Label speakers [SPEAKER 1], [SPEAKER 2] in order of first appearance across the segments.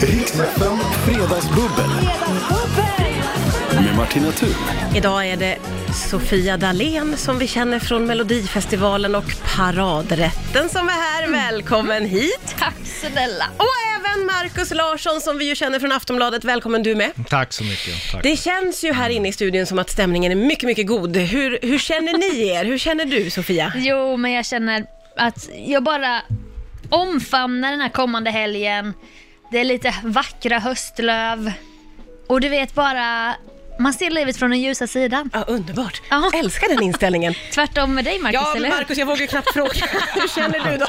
[SPEAKER 1] Riksfem Fredagsbubbel med Martina Thun.
[SPEAKER 2] Idag är det Sofia Dalén som vi känner från Melodifestivalen och Paradrätten som är här. Välkommen hit!
[SPEAKER 3] Tack snälla.
[SPEAKER 2] Och även Markus Larsson som vi ju känner från Aftonbladet. Välkommen du med.
[SPEAKER 4] Tack så mycket. Tack.
[SPEAKER 2] Det känns ju här inne i studion som att stämningen är mycket, mycket god. Hur, hur känner ni er? Hur känner du Sofia?
[SPEAKER 3] Jo, men jag känner att jag bara omfamnar den här kommande helgen. Det är lite vackra höstlöv. Och du vet bara, man ser livet från den ljusa sidan.
[SPEAKER 2] Ja, underbart.
[SPEAKER 3] Ja.
[SPEAKER 2] Älskar den inställningen.
[SPEAKER 3] Tvärtom med dig Marcus,
[SPEAKER 2] Ja,
[SPEAKER 3] eller hur?
[SPEAKER 2] Markus, jag vågar ju knappt fråga. Hur känner du då?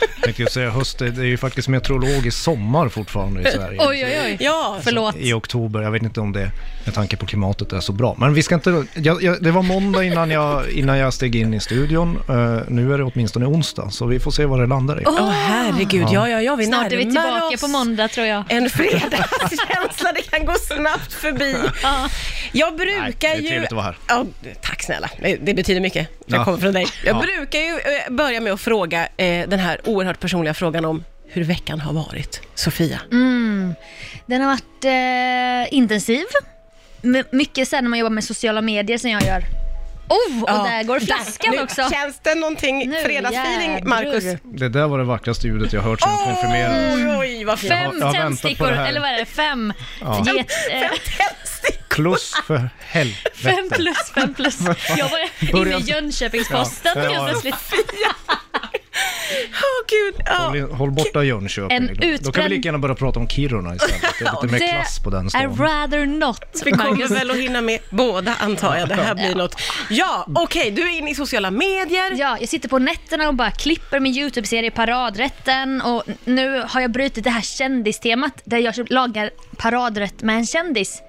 [SPEAKER 4] Jag tänkte ju säga höst, det är ju faktiskt meteorologisk sommar fortfarande i Sverige.
[SPEAKER 3] Oj, oj, oj.
[SPEAKER 2] Ja,
[SPEAKER 3] Förlåt.
[SPEAKER 4] I oktober, jag vet inte om det med tanke på klimatet är så bra. Men vi ska inte, jag, jag, det var måndag innan jag, innan jag steg in i studion. Eh, nu är det åtminstone onsdag, så vi får se var det landar i.
[SPEAKER 2] Åh herregud, ja, ja, ja, vi
[SPEAKER 3] Snart är vi
[SPEAKER 2] närmar
[SPEAKER 3] tillbaka
[SPEAKER 2] oss.
[SPEAKER 3] på måndag tror jag.
[SPEAKER 2] En fredagskänsla, det kan gå snabbt förbi.
[SPEAKER 3] Ja.
[SPEAKER 2] Jag
[SPEAKER 4] Nej,
[SPEAKER 2] brukar
[SPEAKER 4] det är
[SPEAKER 2] ju...
[SPEAKER 4] trevligt att vara här.
[SPEAKER 2] Ja, tack snälla, det det betyder mycket. Jag
[SPEAKER 4] Ja.
[SPEAKER 2] kommer från dig. Jag
[SPEAKER 4] Ja.
[SPEAKER 2] brukar ju eh, börja med att fråga eh, den här oerhört personliga frågan om hur veckan har varit. Sofia?
[SPEAKER 3] Mm. Den har varit eh, intensiv. My- mycket sen när man jobbar med sociala medier som jag gör. Oh, och
[SPEAKER 2] Ja.
[SPEAKER 3] där går flaskan
[SPEAKER 2] nu,
[SPEAKER 3] också.
[SPEAKER 2] Känns det någonting
[SPEAKER 3] Nu
[SPEAKER 2] fredagsfeeling,
[SPEAKER 3] jädrar.
[SPEAKER 2] Marcus?
[SPEAKER 4] Det där var det vackraste ljudet jag hört sedan jag konfirmerades.
[SPEAKER 2] Oj, oj, vad fint.
[SPEAKER 3] Fem
[SPEAKER 4] jag har väntat på
[SPEAKER 3] tändstickor,
[SPEAKER 4] det här.
[SPEAKER 3] eller vad är det? Fem?
[SPEAKER 4] Ja.
[SPEAKER 3] Get, eh,
[SPEAKER 4] Plus för helvete.
[SPEAKER 3] Fem plus, fem plus. Jag var inne
[SPEAKER 4] Början-
[SPEAKER 3] i Jönköpingsposten
[SPEAKER 4] Ja, det
[SPEAKER 3] helt
[SPEAKER 4] var det.
[SPEAKER 3] plötsligt.
[SPEAKER 2] Åh, gud. Ja.
[SPEAKER 4] Håll, håll borta Jönköping.
[SPEAKER 3] En
[SPEAKER 4] Då kan vi
[SPEAKER 3] utbränd-
[SPEAKER 4] lika gärna börja prata om Kiruna istället. Det är lite mer klass på den
[SPEAKER 3] I
[SPEAKER 4] staden.
[SPEAKER 3] rather not,
[SPEAKER 2] Vi kommer
[SPEAKER 3] Marcus.
[SPEAKER 2] väl att hinna med båda antar jag. Det här blir något. Ja, okej, du är inne i sociala medier.
[SPEAKER 3] Ja, jag sitter på nätterna och bara klipper min YouTube-serie Paradrätten och nu har jag brutit det här kändistemat där jag lagar paradrätt med en kändis.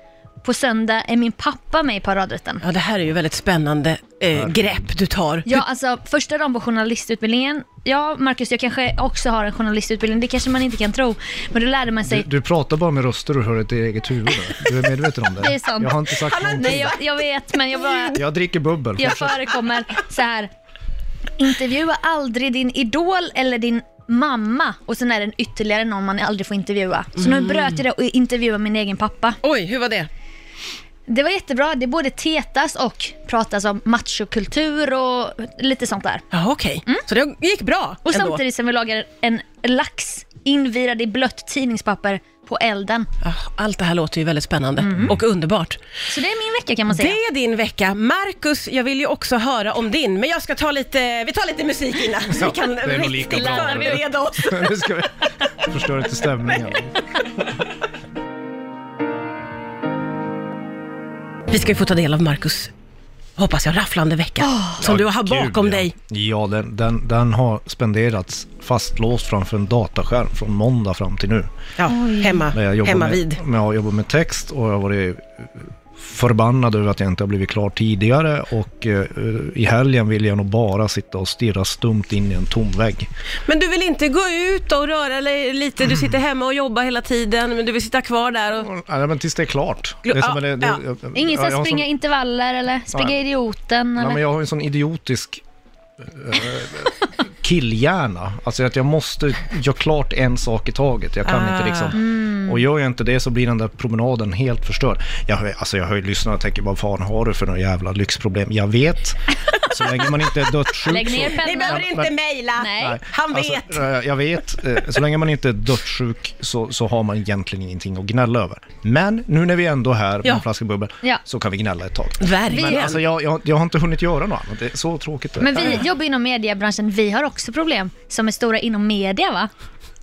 [SPEAKER 3] På söndag är min pappa med i Paradrätten.
[SPEAKER 2] Ja, det här är ju väldigt spännande eh, grepp du tar.
[SPEAKER 3] Ja, alltså första dagen på journalistutbildningen. Ja, Marcus, jag kanske också har en journalistutbildning. Det kanske man inte kan tro. Men då lärde man sig
[SPEAKER 4] Du, du pratar bara med röster och hör ett eget huvud. Du är medveten om det?
[SPEAKER 3] Det är sant.
[SPEAKER 4] Jag har inte sagt någonting.
[SPEAKER 3] Nej, jag, jag vet, men jag, bara,
[SPEAKER 4] Jag dricker bubbel.
[SPEAKER 3] jag
[SPEAKER 4] Fortsätt.
[SPEAKER 3] förekommer så här. Intervjua aldrig din idol eller din mamma och sen är det ytterligare någon man aldrig får intervjua. Så
[SPEAKER 4] Mm.
[SPEAKER 3] nu bröt jag det och intervjuade min egen pappa.
[SPEAKER 2] Oj, hur var det?
[SPEAKER 3] Det var jättebra. Det både tetas och pratas om machokultur och lite sånt där.
[SPEAKER 2] Ja, okej. Så det gick bra
[SPEAKER 3] Och
[SPEAKER 2] ändå?
[SPEAKER 3] samtidigt som vi lagar en lax invirad i blött tidningspapper på elden.
[SPEAKER 2] Ah, Allt det här låter ju väldigt spännande och underbart.
[SPEAKER 3] Så det är min vecka kan man
[SPEAKER 2] Det
[SPEAKER 3] säga.
[SPEAKER 2] är din vecka. Marcus, jag vill ju också höra om din, men jag ska ta lite, vi tar lite musik innan så vi kan
[SPEAKER 4] det är nog lika
[SPEAKER 2] riktigt
[SPEAKER 4] bra.
[SPEAKER 2] förbereda oss.
[SPEAKER 4] Nu ska vi förstöra inte stämningen.
[SPEAKER 2] Vi ska ju få ta del av Marcus, hoppas jag, rafflande vecka som du har
[SPEAKER 4] Ja,
[SPEAKER 2] bakom
[SPEAKER 4] gud, ja.
[SPEAKER 2] dig.
[SPEAKER 4] Ja, den, den, den har spenderats fastlåst framför en dataskärm från måndag fram till nu.
[SPEAKER 2] Ja, hemma,
[SPEAKER 4] Där jag jobbar
[SPEAKER 2] hemma
[SPEAKER 4] med,
[SPEAKER 2] vid.
[SPEAKER 4] Med, jag jobbar med text och jag har varit förbannad över att jag inte har blivit klar tidigare och eh, i helgen vill jag nog bara sitta och stirra stumt in i en tom vägg.
[SPEAKER 2] Men du vill inte gå ut och röra dig lite, du sitter hemma och jobbar hela tiden, men du vill sitta kvar där och...
[SPEAKER 4] Ja, men tills det är klart. Det är som,
[SPEAKER 2] Ja,
[SPEAKER 4] det, det,
[SPEAKER 2] ja.
[SPEAKER 4] jag- jag-
[SPEAKER 3] Ingen
[SPEAKER 4] jag har
[SPEAKER 3] som
[SPEAKER 4] en
[SPEAKER 3] springa
[SPEAKER 4] sån-
[SPEAKER 3] intervaller eller springa
[SPEAKER 4] Nej.
[SPEAKER 3] idioten
[SPEAKER 4] Nej,
[SPEAKER 3] eller...
[SPEAKER 4] men jag har ju en sån idiotisk eh, killhjärna. Alltså att jag måste göra klart en sak i taget. Jag kan
[SPEAKER 2] Ah.
[SPEAKER 4] inte liksom... Och gör jag inte det så blir den där promenaden helt förstörd. Jag, har- alltså jag har ju lyssnat och tänker, vad fan har du för några jävla lyxproblem? Jag vet. Så länge man inte är dödssjuk
[SPEAKER 3] Lägg ner
[SPEAKER 4] så...
[SPEAKER 3] pennan.
[SPEAKER 2] Ni behöver inte
[SPEAKER 4] men-
[SPEAKER 2] mejla!
[SPEAKER 3] Nej.
[SPEAKER 2] Han
[SPEAKER 4] Alltså,
[SPEAKER 2] vet.
[SPEAKER 4] eh, jag vet. eh, Så länge man inte är dödssjuk så, så har man egentligen ingenting att gnälla över. Men nu när vi ändå är här med
[SPEAKER 2] Ja.
[SPEAKER 4] en flaska bubbel
[SPEAKER 3] Ja.
[SPEAKER 4] så kan vi gnälla ett tag.
[SPEAKER 2] Verkligen.
[SPEAKER 4] Men alltså, jag, jag, jag har inte hunnit göra något annat. Det är så tråkigt. det är.
[SPEAKER 3] Men vi jobbar inom mediebranschen, vi har också problem som är stora inom media va?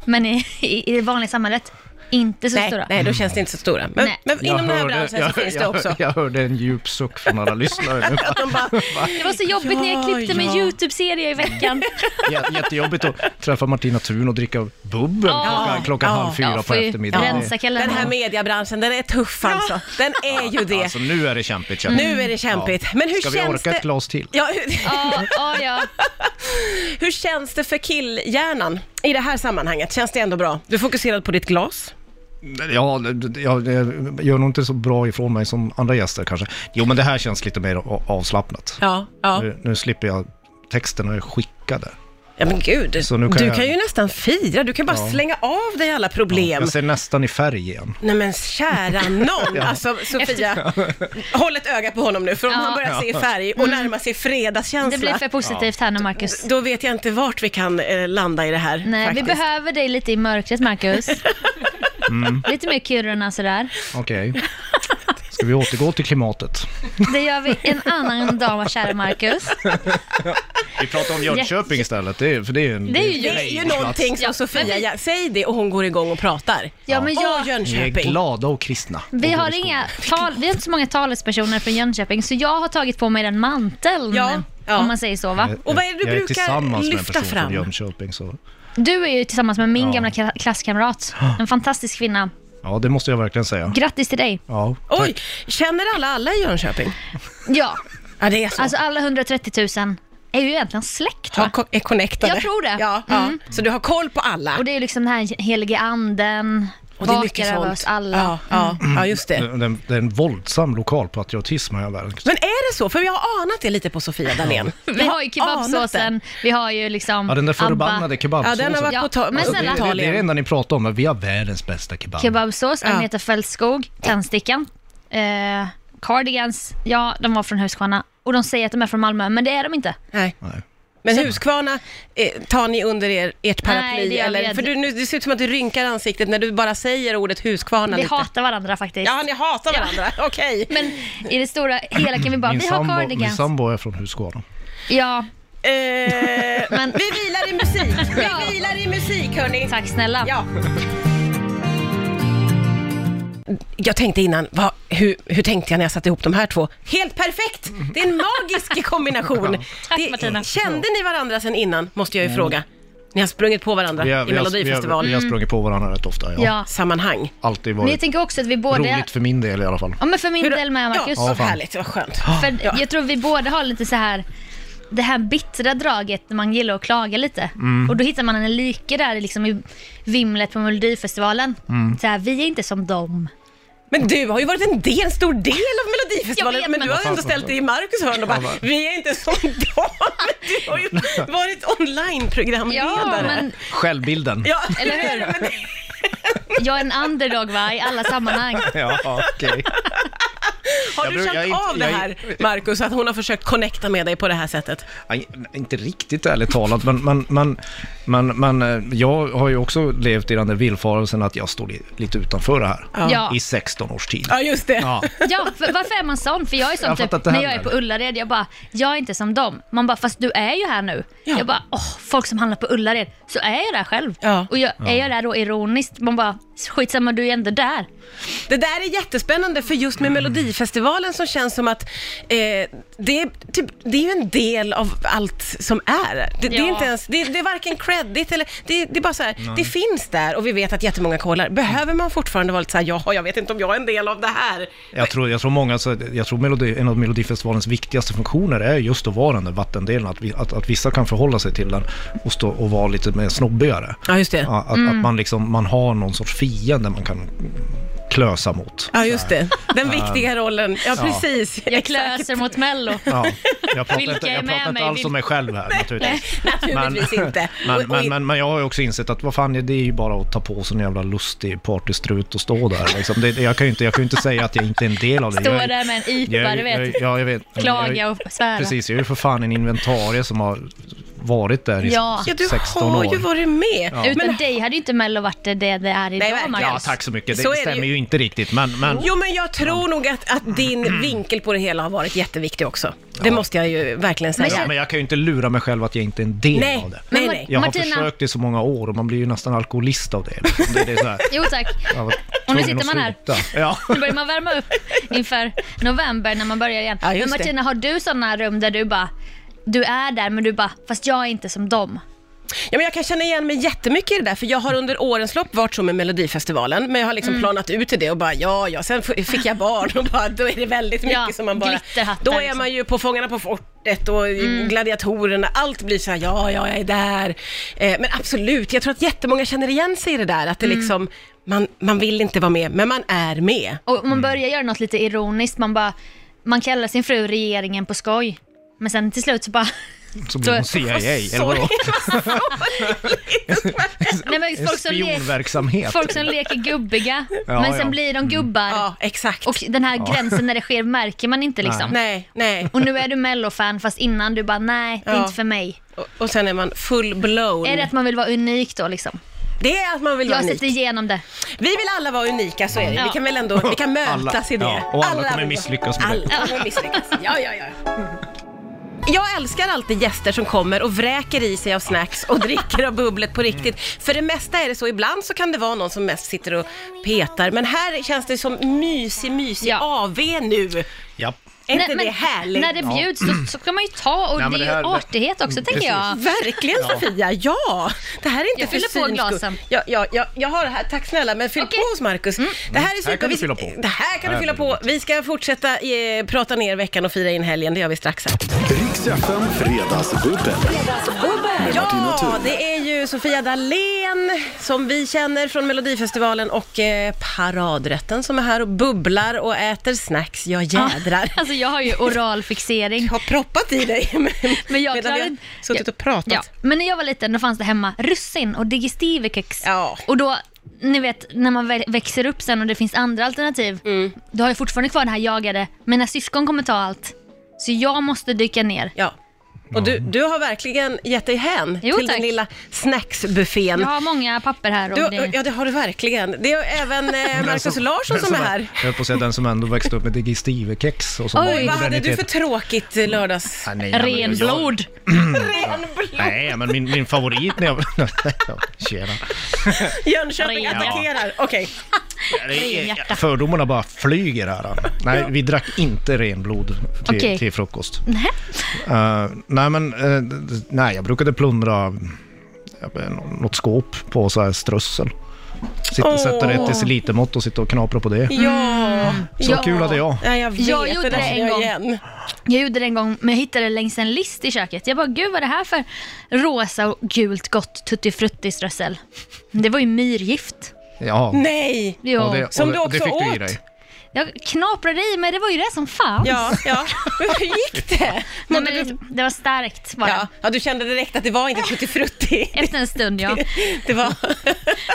[SPEAKER 3] Men i, i, i det vanliga samhället, inte så
[SPEAKER 2] nej,
[SPEAKER 3] stora.
[SPEAKER 2] nej, då känns det inte så stora. Men,
[SPEAKER 3] Nej.
[SPEAKER 2] men
[SPEAKER 4] Jag
[SPEAKER 2] inom den här
[SPEAKER 4] hörde-
[SPEAKER 2] branschen så
[SPEAKER 4] jag-
[SPEAKER 2] finns det
[SPEAKER 4] jag-
[SPEAKER 2] också.
[SPEAKER 4] Jag hörde en djup suck från alla lyssnare nu.
[SPEAKER 2] Att de bara,
[SPEAKER 3] Det var så jobbigt när jag klippte
[SPEAKER 2] Ja,
[SPEAKER 3] min
[SPEAKER 2] ja.
[SPEAKER 3] YouTube-serie i veckan.
[SPEAKER 4] Jä- Jättejobbigt att träffa Martina Thun och dricka bubbel klockan, klockan
[SPEAKER 2] Ja.
[SPEAKER 4] halv fyra
[SPEAKER 3] Ja,
[SPEAKER 4] på
[SPEAKER 3] får ju
[SPEAKER 4] eftermiddagen.
[SPEAKER 3] rensa
[SPEAKER 2] den här
[SPEAKER 3] kalendern.
[SPEAKER 2] mediebranschen, den är tuff alltså. Den är ju det.
[SPEAKER 4] Alltså nu är det kämpigt. kämpigt.
[SPEAKER 2] Nu är det kämpigt.
[SPEAKER 4] Ja.
[SPEAKER 2] Men hur
[SPEAKER 4] Ska vi
[SPEAKER 2] känns
[SPEAKER 4] orka
[SPEAKER 2] det?
[SPEAKER 4] ett glas till?
[SPEAKER 2] Ja, hur,
[SPEAKER 3] Ja, ja, ja.
[SPEAKER 2] hur känns det för killhjärnan i det här sammanhanget? Känns det ändå bra? Du är fokuserad på ditt glas.
[SPEAKER 4] Ja, det- jag, jag gör nog inte så bra ifrån mig som andra gäster kanske. Jo, men det här känns lite mer a- avslappnat.
[SPEAKER 2] Ja, ja.
[SPEAKER 4] Nu, nu slipper jag, texterna är skickade.
[SPEAKER 2] Ja men gud,
[SPEAKER 4] Så nu kan
[SPEAKER 2] du
[SPEAKER 4] jag-
[SPEAKER 2] kan ju nästan fira, du kan bara slänga av dig alla problem.
[SPEAKER 4] Jag ser nästan i färg igen.
[SPEAKER 2] Nej men kära någon, alltså Sofia, håll ett öga på honom nu för om
[SPEAKER 3] Ja. Mm.
[SPEAKER 2] han börjar se färg och närmar sig
[SPEAKER 3] Det blir
[SPEAKER 2] fredagskänsla,
[SPEAKER 3] för positivt här nu, Marcus.
[SPEAKER 2] då vet jag inte vart vi kan eh, landa i det här
[SPEAKER 3] Nej,
[SPEAKER 2] faktiskt.
[SPEAKER 3] vi behöver dig lite i mörkret, Marcus. Lite mer Kiruna sådär.
[SPEAKER 4] Okej. Ska vi återgå till klimatet?
[SPEAKER 3] Det gör vi en annan dag, var kära Marcus.
[SPEAKER 4] Vi pratar om Jönköping istället, det är, för det är en...
[SPEAKER 3] Det är ju
[SPEAKER 2] det är ju
[SPEAKER 3] jag.
[SPEAKER 2] någonting som
[SPEAKER 3] Ja,
[SPEAKER 2] Sofia,
[SPEAKER 3] men vi-
[SPEAKER 2] ja, säg det och hon går igång och pratar.
[SPEAKER 3] Ja, men
[SPEAKER 2] Åh
[SPEAKER 3] jag,
[SPEAKER 4] Ni är
[SPEAKER 2] Jönköping!
[SPEAKER 4] glada och kristna.
[SPEAKER 3] vi,
[SPEAKER 4] Och
[SPEAKER 3] har
[SPEAKER 4] går i
[SPEAKER 3] inga tal, vi har inte så många talespersoner från Jönköping, så jag har tagit på mig den manteln.
[SPEAKER 2] Ja, ja.
[SPEAKER 3] Om man säger så, va?
[SPEAKER 4] skolan.
[SPEAKER 2] Och vad är det du
[SPEAKER 4] jag
[SPEAKER 2] brukar
[SPEAKER 4] är tillsammans med en
[SPEAKER 2] lyfta
[SPEAKER 4] person
[SPEAKER 2] fram?
[SPEAKER 4] från Jönköping, så...
[SPEAKER 3] Du är ju tillsammans med min
[SPEAKER 4] Ja.
[SPEAKER 3] gamla kla- klasskamrat. En fantastisk kvinna.
[SPEAKER 4] Ja, det måste jag verkligen säga.
[SPEAKER 3] Grattis till dig.
[SPEAKER 4] Ja, tack.
[SPEAKER 2] Oj, känner alla alla i Jönköping?
[SPEAKER 3] Ja,
[SPEAKER 2] Ja det är så.
[SPEAKER 3] alltså alla 130 000 är ju egentligen släkt,
[SPEAKER 2] Ja,
[SPEAKER 3] va?
[SPEAKER 2] ko- är connectade.
[SPEAKER 3] Jag tror det.
[SPEAKER 2] Ja,
[SPEAKER 3] Mm.
[SPEAKER 2] ja. Så du har koll på alla?
[SPEAKER 3] Och det är ju liksom den här helige anden,
[SPEAKER 2] Och det är mycket
[SPEAKER 3] vakar över
[SPEAKER 2] sånt.
[SPEAKER 3] oss alla. Mm.
[SPEAKER 2] Ja, ja, ja just det.
[SPEAKER 4] Det, det, det är en våldsam lokalpatriotism har jag märkt.
[SPEAKER 2] Men är det så? För vi har anat det lite på Sofia Dalén.
[SPEAKER 3] Vi har ju
[SPEAKER 2] anat den.
[SPEAKER 3] kebabsåsen, vi har ju liksom
[SPEAKER 4] Ja, den där förbannade
[SPEAKER 3] Abba.
[SPEAKER 4] kebabsåsen.
[SPEAKER 2] Ja, den har varit
[SPEAKER 3] Ja,
[SPEAKER 2] på ta- alltså,
[SPEAKER 3] men
[SPEAKER 2] på
[SPEAKER 3] snälla-
[SPEAKER 4] det, det, det är det
[SPEAKER 2] Italien.
[SPEAKER 4] enda ni pratar om, men vi har världens bästa kebab.
[SPEAKER 3] Kebabsås,
[SPEAKER 2] Ja.
[SPEAKER 3] Agneta Fältskog, Tändstickan, eh, Cardigans, ja de var från Huskvarna. Och de säger att de är från Malmö, men det är de inte.
[SPEAKER 2] Nej.
[SPEAKER 4] Nej.
[SPEAKER 2] Men Huskvarna eh, tar ni under er, ert paraply?
[SPEAKER 3] Nej, det gör vi
[SPEAKER 2] eller?
[SPEAKER 3] inte.
[SPEAKER 2] För du, nu, det ser ut som att du rynkar ansiktet när du bara säger ordet Huskvarna
[SPEAKER 3] Vi
[SPEAKER 2] lite.
[SPEAKER 3] hatar varandra faktiskt.
[SPEAKER 2] Ja, ni hatar
[SPEAKER 3] Ja.
[SPEAKER 2] varandra. Okej.
[SPEAKER 3] Men i det stora hela kan vi bara,
[SPEAKER 4] Min,
[SPEAKER 3] vi har
[SPEAKER 4] sambo, min
[SPEAKER 3] Cardigans.
[SPEAKER 4] sambo är från Huskvarna.
[SPEAKER 3] Ja,
[SPEAKER 2] Eh,
[SPEAKER 3] Men-
[SPEAKER 2] Vi vilar i musik. Vi vilar i musik, hörni.
[SPEAKER 3] tack snälla.
[SPEAKER 2] Ja. Jag tänkte innan, vad, hur, hur tänkte jag när jag satte ihop de här två? Helt perfekt! Det är en magisk kombination.
[SPEAKER 3] Tack,
[SPEAKER 2] det,
[SPEAKER 3] Martina.
[SPEAKER 2] Kände ni varandra sen innan, måste jag ju fråga. Ni har sprungit på varandra
[SPEAKER 4] Mm. Vi har,
[SPEAKER 2] i
[SPEAKER 4] vi, har, vi, har, vi
[SPEAKER 2] Melodifestivalsammanhang.
[SPEAKER 4] har sprungit på varandra rätt ofta. Ja.
[SPEAKER 3] Ja.
[SPEAKER 2] Sammanhang.
[SPEAKER 4] Alltid
[SPEAKER 3] Men jag
[SPEAKER 4] varit
[SPEAKER 3] tänker också att vi båda,
[SPEAKER 4] roligt för min del i alla fall.
[SPEAKER 3] ja men för min del med Marcus.
[SPEAKER 2] Ja,
[SPEAKER 4] Ja,
[SPEAKER 2] så
[SPEAKER 4] fan.
[SPEAKER 2] härligt, vad skönt.
[SPEAKER 3] För
[SPEAKER 2] Ja.
[SPEAKER 3] jag tror vi båda har lite så här det här bittra draget när man gillar att klaga lite. Och då hittar man en like där liksom i vimlet på Melodifestivalen. Så här, vi är inte som dem.
[SPEAKER 2] Men du har ju varit en, del, en stor del av Melodifestivalen,
[SPEAKER 3] Jag vet,
[SPEAKER 2] men du
[SPEAKER 3] men-
[SPEAKER 2] har ändå ställt dig i Marcus hörn och bara,
[SPEAKER 4] Ja, men-
[SPEAKER 2] vi är inte som dem. Du har ju varit
[SPEAKER 3] Ja,
[SPEAKER 2] online-programledare.
[SPEAKER 3] men
[SPEAKER 4] Självbilden.
[SPEAKER 2] Ja,
[SPEAKER 3] Eller hur?
[SPEAKER 2] Men det-
[SPEAKER 3] jag är en underdog va, i alla sammanhang.
[SPEAKER 4] Ja, okej.
[SPEAKER 2] Har
[SPEAKER 4] Jag
[SPEAKER 2] du
[SPEAKER 4] brukar-
[SPEAKER 2] känt
[SPEAKER 4] jag är inte-
[SPEAKER 2] av det
[SPEAKER 4] jag är-
[SPEAKER 2] här, Marcus, att hon har försökt connecta med dig på det här sättet?
[SPEAKER 4] Nej, Inte riktigt ärligt talat, men, men, men, men, men eh, jag har ju också levt i den där villfarelsen att jag står li- lite utanför det här
[SPEAKER 3] Ja.
[SPEAKER 4] i 16 års tid.
[SPEAKER 2] Ja, just det.
[SPEAKER 4] Ja.
[SPEAKER 3] Ja, för, varför är man sån? För jag är
[SPEAKER 4] Jag
[SPEAKER 3] som
[SPEAKER 4] har
[SPEAKER 3] typ,
[SPEAKER 4] fattat det
[SPEAKER 3] när jag är
[SPEAKER 4] heller.
[SPEAKER 3] på Ullared, jag bara, jag är inte som dem. Man bara, fast du är ju här nu.
[SPEAKER 2] Ja.
[SPEAKER 3] Jag bara, åh, folk som handlar på Ullared, så är jag där själv.
[SPEAKER 2] Ja.
[SPEAKER 3] Och jag, är jag där då ironiskt? Man bara, skitsamma du är ändå där.
[SPEAKER 2] Det där är jättespännande, för just med Melodifestivalen som känns som att eh, det, är typ, det är ju en del av allt som är. Det, det, är,
[SPEAKER 3] Ja.
[SPEAKER 2] inte ens, det, det är varken credit eller... Det, det är bara så här, det finns där och vi vet att jättemånga kollar. Behöver man fortfarande vara lite så här, ja, jag vet inte om jag är en del av det här?
[SPEAKER 4] Jag tror, jag tror många, så- jag tror Melodi, en av Melodifestivalens viktigaste funktioner är just att vara den där vattendelen, att, vi, att, att vissa kan förhålla sig till den och, stå, och vara lite mer snobbigare.
[SPEAKER 2] Ja, just det.
[SPEAKER 4] Ja, Att,
[SPEAKER 3] Mm.
[SPEAKER 4] att man, liksom, man har någon sorts fiende man kan klösa mot.
[SPEAKER 2] Ja, just det. Den viktiga rollen. Ja, precis.
[SPEAKER 3] Jag klöser mot Mello.
[SPEAKER 4] Ja, jag pratar
[SPEAKER 3] Vilka
[SPEAKER 4] inte,
[SPEAKER 3] är
[SPEAKER 4] jag
[SPEAKER 3] med
[SPEAKER 4] pratar inte
[SPEAKER 3] mig?
[SPEAKER 4] alls om mig själv här naturligtvis.
[SPEAKER 2] Naturligtvis inte.
[SPEAKER 4] Men,
[SPEAKER 2] Och- och-
[SPEAKER 4] men, men, men jag har ju också insett att vad fan, det är ju bara att ta på sig en jävla lustig partystrut och stå där. Liksom. Det, det- jag, kan ju inte, jag kan ju inte säga att jag inte är en del av det.
[SPEAKER 3] Stå
[SPEAKER 4] jag, är-
[SPEAKER 3] där med en IPA,
[SPEAKER 4] jag, är-
[SPEAKER 3] du
[SPEAKER 4] jag,
[SPEAKER 3] vet.
[SPEAKER 4] är- ja, jag vet. Men jag,
[SPEAKER 3] Klaga
[SPEAKER 4] är-
[SPEAKER 3] och svära.
[SPEAKER 4] Precis, jag är ju för fan en inventarie som har varit där i
[SPEAKER 3] Ja.
[SPEAKER 2] Ja, du
[SPEAKER 4] 16
[SPEAKER 2] har ju
[SPEAKER 4] år.
[SPEAKER 2] varit med.
[SPEAKER 3] Utan dig hade ju inte Mello varit det det är idag,
[SPEAKER 2] verkligen.
[SPEAKER 3] Marcus.
[SPEAKER 4] Ja, tack så mycket. Det
[SPEAKER 2] Så är det
[SPEAKER 4] stämmer
[SPEAKER 2] ju.
[SPEAKER 4] ju. inte riktigt, men... men
[SPEAKER 2] Jo, men jag tror nog att, att din vinkel på det hela har varit jätteviktig också. Det måste jag ju verkligen säga.
[SPEAKER 4] ja, men jag kan ju inte lura mig själv att jag inte är en del
[SPEAKER 2] Nej,
[SPEAKER 4] av det.
[SPEAKER 2] nej,
[SPEAKER 3] Men
[SPEAKER 2] nej.
[SPEAKER 4] Jag har
[SPEAKER 3] Martina-
[SPEAKER 4] försökt i så många år och man blir ju nästan alkoholist av det. liksom. det, det är så här,
[SPEAKER 3] Jo tack.
[SPEAKER 4] jag var
[SPEAKER 3] Och nu
[SPEAKER 4] tvungen
[SPEAKER 3] sitter
[SPEAKER 4] att
[SPEAKER 3] man här.
[SPEAKER 4] sluta. Ja.
[SPEAKER 3] Nu börjar man värma upp inför november när man börjar igen.
[SPEAKER 2] Ja, just
[SPEAKER 3] men Martina, har du sådana rum där du bara, du är där men du bara, fast jag är inte som dem.
[SPEAKER 2] Ja, men jag kan känna igen mig jättemycket i det där, för jag har under årens lopp varit så med Melodifestivalen, men jag har liksom
[SPEAKER 3] Mm.
[SPEAKER 2] planat ut till det och bara ja, ja, sen f- fick jag barn och bara, då är det väldigt mycket
[SPEAKER 3] Ja,
[SPEAKER 2] som man bara...
[SPEAKER 3] glitterhattar
[SPEAKER 2] Då är
[SPEAKER 3] liksom. Mm.
[SPEAKER 2] man ju på Fångarna på fortet och i Gladiatorerna, allt blir så här, ja, ja, jag är där. Eh, men absolut, jag tror att jättemånga känner igen sig i det där, att
[SPEAKER 3] Mm.
[SPEAKER 2] det liksom, man, man vill inte vara med, men man är med.
[SPEAKER 3] Och
[SPEAKER 4] Mm.
[SPEAKER 3] man börjar göra något lite ironiskt, man bara, man kallar sin fru regeringen på skoj. Men sen till slut så bara,
[SPEAKER 4] så blir hon
[SPEAKER 3] Så-
[SPEAKER 4] CIA eller vadå?
[SPEAKER 3] Nej, men
[SPEAKER 4] En
[SPEAKER 3] folk, som le-
[SPEAKER 4] spionverksamhet.
[SPEAKER 3] folk som leker gubbiga,
[SPEAKER 4] Ja,
[SPEAKER 3] men sen
[SPEAKER 4] ja.
[SPEAKER 3] blir de gubbar.
[SPEAKER 2] Mm. Ja, exakt.
[SPEAKER 3] Och den här gränsen när det sker märker man inte liksom.
[SPEAKER 2] nej, nej.
[SPEAKER 3] Och nu är du mellofan fast innan du bara nej, det är
[SPEAKER 2] Ja.
[SPEAKER 3] inte för mig.
[SPEAKER 2] Och, och sen är man full-blown.
[SPEAKER 3] Är det att man vill vara unik då liksom?
[SPEAKER 2] Det är att man vill
[SPEAKER 3] Jag
[SPEAKER 2] vara
[SPEAKER 3] har
[SPEAKER 2] unik.
[SPEAKER 3] sett igenom det.
[SPEAKER 2] Vi vill alla vara unika, så är det.
[SPEAKER 3] Ja.
[SPEAKER 2] Vi kan väl ändå, vi kan mötas i det.
[SPEAKER 4] ja, och alla kommer misslyckas med det.
[SPEAKER 2] Alla kommer misslyckas. Ja, ja, ja. Jag älskar alltid gäster som kommer och vräker i sig av snacks och dricker av bubblet på riktigt. För det mesta är det så, ibland så kan det vara någon som mest sitter och petar, men här känns det som mysig, mysig
[SPEAKER 3] Ja.
[SPEAKER 2] AV nu.
[SPEAKER 4] Ja.
[SPEAKER 2] Är inte
[SPEAKER 3] Nej, men
[SPEAKER 2] det härligt?
[SPEAKER 3] När det bjuds så, så kan man ju ta och
[SPEAKER 4] Nej, men
[SPEAKER 3] det är
[SPEAKER 4] det
[SPEAKER 3] ju
[SPEAKER 4] här-
[SPEAKER 3] artighet också
[SPEAKER 4] Mm,
[SPEAKER 3] tänker jag.
[SPEAKER 2] Verkligen Sofia, ja! Det här är inte
[SPEAKER 3] Jag
[SPEAKER 2] för
[SPEAKER 3] fyller på
[SPEAKER 2] syns skull.
[SPEAKER 3] glasen.
[SPEAKER 2] Ja, ja, ja, jag har det här, tack snälla, men fyll
[SPEAKER 3] Okej. Mm.
[SPEAKER 2] på hos Marcus. Det här är super.
[SPEAKER 4] Här kan du
[SPEAKER 2] vi-
[SPEAKER 4] fylla på.
[SPEAKER 2] Det här kan du
[SPEAKER 4] Här
[SPEAKER 2] fylla
[SPEAKER 4] blir det
[SPEAKER 2] på. Vi ska fortsätta eh, prata ner veckan och fira in helgen, det gör vi strax här.
[SPEAKER 1] Riks FM Fredagsbubbel. Med Martina
[SPEAKER 2] Ja,
[SPEAKER 1] Thun.
[SPEAKER 2] det är ju Sofia Dalén som vi känner från Melodifestivalen och eh, Paradrätten som är här och bubblar och äter snacks. Jag jädrar.
[SPEAKER 3] Alltså jag har ju oralfixering.
[SPEAKER 2] Jag har proppat i dig med-
[SPEAKER 3] Men
[SPEAKER 2] medan
[SPEAKER 3] jag
[SPEAKER 2] vi
[SPEAKER 3] klarar
[SPEAKER 2] har
[SPEAKER 3] inte-
[SPEAKER 2] suttit och pratat.
[SPEAKER 3] Ja. Men när jag var liten då fanns det hemma russin och digestivekex.
[SPEAKER 2] Ja.
[SPEAKER 3] Och då, ni vet när man väl växer upp sen och det finns andra alternativ. Då har jag fortfarande kvar det här jagade. Mina syskon kommer ta allt. Så jag måste dyka ner.
[SPEAKER 2] Ja. Och du, du har verkligen gett dig hän
[SPEAKER 3] Jo,
[SPEAKER 2] till
[SPEAKER 3] tack.
[SPEAKER 2] den lilla snacksbuffén.
[SPEAKER 3] Jag har många papper här. Och
[SPEAKER 2] Du,
[SPEAKER 3] det...
[SPEAKER 2] ja, det har du verkligen. Det är även eh, Markus Larsson som är här.
[SPEAKER 4] Jag höll på att säga den som ändå växte upp med digestivekex och så
[SPEAKER 3] Oj,
[SPEAKER 4] bara
[SPEAKER 2] Vad hade du för
[SPEAKER 4] modernitet.
[SPEAKER 2] tråkigt eh, lördags...
[SPEAKER 4] Ah, nej, nej, men jag-
[SPEAKER 3] Renblod.
[SPEAKER 4] Nej, men min, min favorit när jag... Tjena.
[SPEAKER 2] Jönköping
[SPEAKER 3] Ja.
[SPEAKER 2] attackerar. Okej.
[SPEAKER 3] Renhjärta.
[SPEAKER 4] Fördomarna bara flyger här. Nej, vi drack inte renblod till,
[SPEAKER 3] Okej.
[SPEAKER 4] till frukost.
[SPEAKER 3] Nej.
[SPEAKER 4] Eh, nej, men eh, d- d- nej, jag brukade plundra ja, men, något skåp på så här strössel. Sitta,
[SPEAKER 2] Åh.
[SPEAKER 4] Sätta det till litermått och sitta och knapra på det.
[SPEAKER 2] Ja.
[SPEAKER 4] Så
[SPEAKER 2] ja.
[SPEAKER 4] kul hade jag.
[SPEAKER 2] Ja, jag vet.
[SPEAKER 3] Mm. Jag gjorde
[SPEAKER 2] där
[SPEAKER 3] det
[SPEAKER 2] ser
[SPEAKER 3] en
[SPEAKER 2] jag
[SPEAKER 3] gång.
[SPEAKER 2] Igen.
[SPEAKER 3] Jag gjorde det en gång, men jag hittade det längs en list i köket. Jag bara, gud vad är det här för rosa och gult gott tuttifruttiströssel? Det var ju myrgift.
[SPEAKER 4] Ja.
[SPEAKER 2] Nej!
[SPEAKER 3] Jo.
[SPEAKER 4] och det,
[SPEAKER 2] Som
[SPEAKER 4] och
[SPEAKER 2] du
[SPEAKER 4] det, och det
[SPEAKER 2] också
[SPEAKER 4] fick du
[SPEAKER 2] åt.
[SPEAKER 4] i dig.
[SPEAKER 3] Jag knaprade i mig, det var ju det som fanns.
[SPEAKER 2] Ja, ja. Men hur gick det?
[SPEAKER 3] Nej,
[SPEAKER 2] Mådde
[SPEAKER 3] men
[SPEAKER 2] du...
[SPEAKER 3] det, det var starkt bara.
[SPEAKER 2] Ja. ja, du kände direkt att det var inte tuttifrutti.
[SPEAKER 3] Efter en stund ja.
[SPEAKER 2] Det var...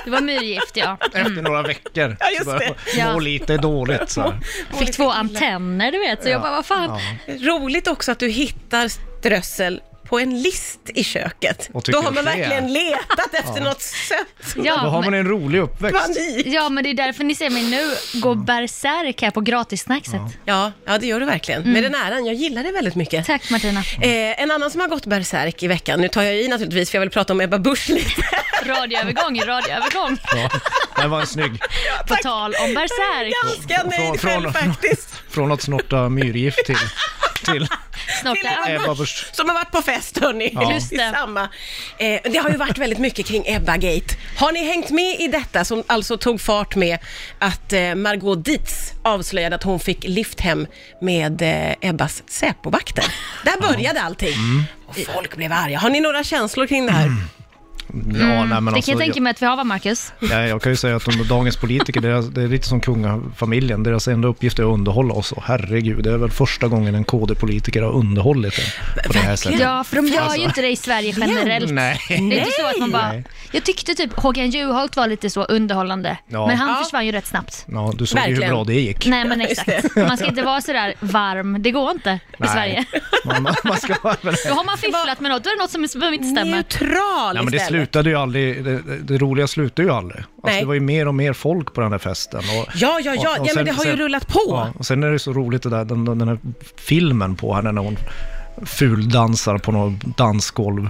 [SPEAKER 3] Det var myrgift ja.
[SPEAKER 4] Efter några veckor
[SPEAKER 2] Ja, just
[SPEAKER 4] så började
[SPEAKER 3] det.
[SPEAKER 4] jag må
[SPEAKER 3] Ja.
[SPEAKER 4] lite dåligt. Så här.
[SPEAKER 3] Jag fick två antenner du vet, så jag bara vad fan.
[SPEAKER 2] Roligt också att du hittar strössel på en list i köket.
[SPEAKER 4] Och
[SPEAKER 2] Då
[SPEAKER 4] tycker
[SPEAKER 2] har man
[SPEAKER 4] det är-
[SPEAKER 2] verkligen letat efter något sött.
[SPEAKER 4] Då
[SPEAKER 3] Ja,
[SPEAKER 4] har man
[SPEAKER 3] men,
[SPEAKER 4] en rolig uppväxt.
[SPEAKER 2] Panik.
[SPEAKER 3] ja men det är därför ni ser mig nu
[SPEAKER 4] Mm.
[SPEAKER 3] gå bärsärk här på gratissnackset.
[SPEAKER 2] Ja, ja, det gör du verkligen. Med den äran, jag gillar det väldigt mycket.
[SPEAKER 3] Tack Martina.
[SPEAKER 2] Eh, en annan som har gått bärsärk i veckan, nu tar jag i naturligtvis för jag vill prata om Ebba Busch lite.
[SPEAKER 3] Radioövergång, radioövergång.
[SPEAKER 4] Ja, det var en snygg.
[SPEAKER 3] På tal om bärsärk.
[SPEAKER 2] Ganska nöjd själv
[SPEAKER 4] från-
[SPEAKER 2] faktiskt.
[SPEAKER 4] Från att snorta myrgift till, till
[SPEAKER 3] Snart
[SPEAKER 2] Till
[SPEAKER 3] är
[SPEAKER 2] Ebba
[SPEAKER 4] Ebba
[SPEAKER 2] Busch
[SPEAKER 4] Busch.
[SPEAKER 2] som har varit på fest hörni.
[SPEAKER 4] Ja.
[SPEAKER 3] Just
[SPEAKER 2] I
[SPEAKER 3] det.
[SPEAKER 2] samma. Eh, det har ju varit väldigt mycket kring Ebba-gate. Har ni hängt med i detta som alltså tog fart med att eh, Margot Dietz avslöjade att hon fick lift hem med eh, Ebbas Säpovakter? Där började allting.
[SPEAKER 3] Mm.
[SPEAKER 2] Och folk blev arga. Har ni några känslor kring det här?
[SPEAKER 4] Ja, nej, men
[SPEAKER 3] Mm, Det
[SPEAKER 4] alltså,
[SPEAKER 3] kan jag tänka mig att vi har va Marcus?
[SPEAKER 4] Nej, jag kan ju säga att de, dagens politiker, deras, det är lite som kungafamiljen. Deras enda uppgift är att underhålla oss. Och herregud, det är väl första gången en KD-politiker har underhållit en på det här sättet.
[SPEAKER 3] Ja, för de gör ju inte det i Sverige generellt.
[SPEAKER 4] Alltså. Nej.
[SPEAKER 3] Det är inte så att man bara...
[SPEAKER 4] Nej.
[SPEAKER 3] Jag tyckte typ Håkan Juholt var lite så underhållande,
[SPEAKER 4] Ja.
[SPEAKER 3] men han
[SPEAKER 2] Ja.
[SPEAKER 3] försvann ju rätt snabbt.
[SPEAKER 4] Ja, du såg ju hur
[SPEAKER 2] Verkligen.
[SPEAKER 4] bra det gick.
[SPEAKER 3] Nej men
[SPEAKER 2] just
[SPEAKER 3] exakt, man ska inte vara sådär varm, det går inte i
[SPEAKER 4] Nej.
[SPEAKER 3] Sverige.
[SPEAKER 4] Man, man, man ska vara väl-
[SPEAKER 3] Då har man fifflat med något, då är det något som som inte stämmer.
[SPEAKER 2] Neutral
[SPEAKER 4] Nej, men det
[SPEAKER 2] istället.
[SPEAKER 4] slutade ju aldrig, det, det- det roliga slutade ju aldrig. Alltså,
[SPEAKER 2] Nej.
[SPEAKER 4] det var ju mer och mer folk på den här festen. Och,
[SPEAKER 2] Ja, ja, ja. Ja, men det har ju rullat på.
[SPEAKER 4] Ja, och sen är det så roligt det där, den, den den här filmen på henne när hon fuldansar på något dansgolv.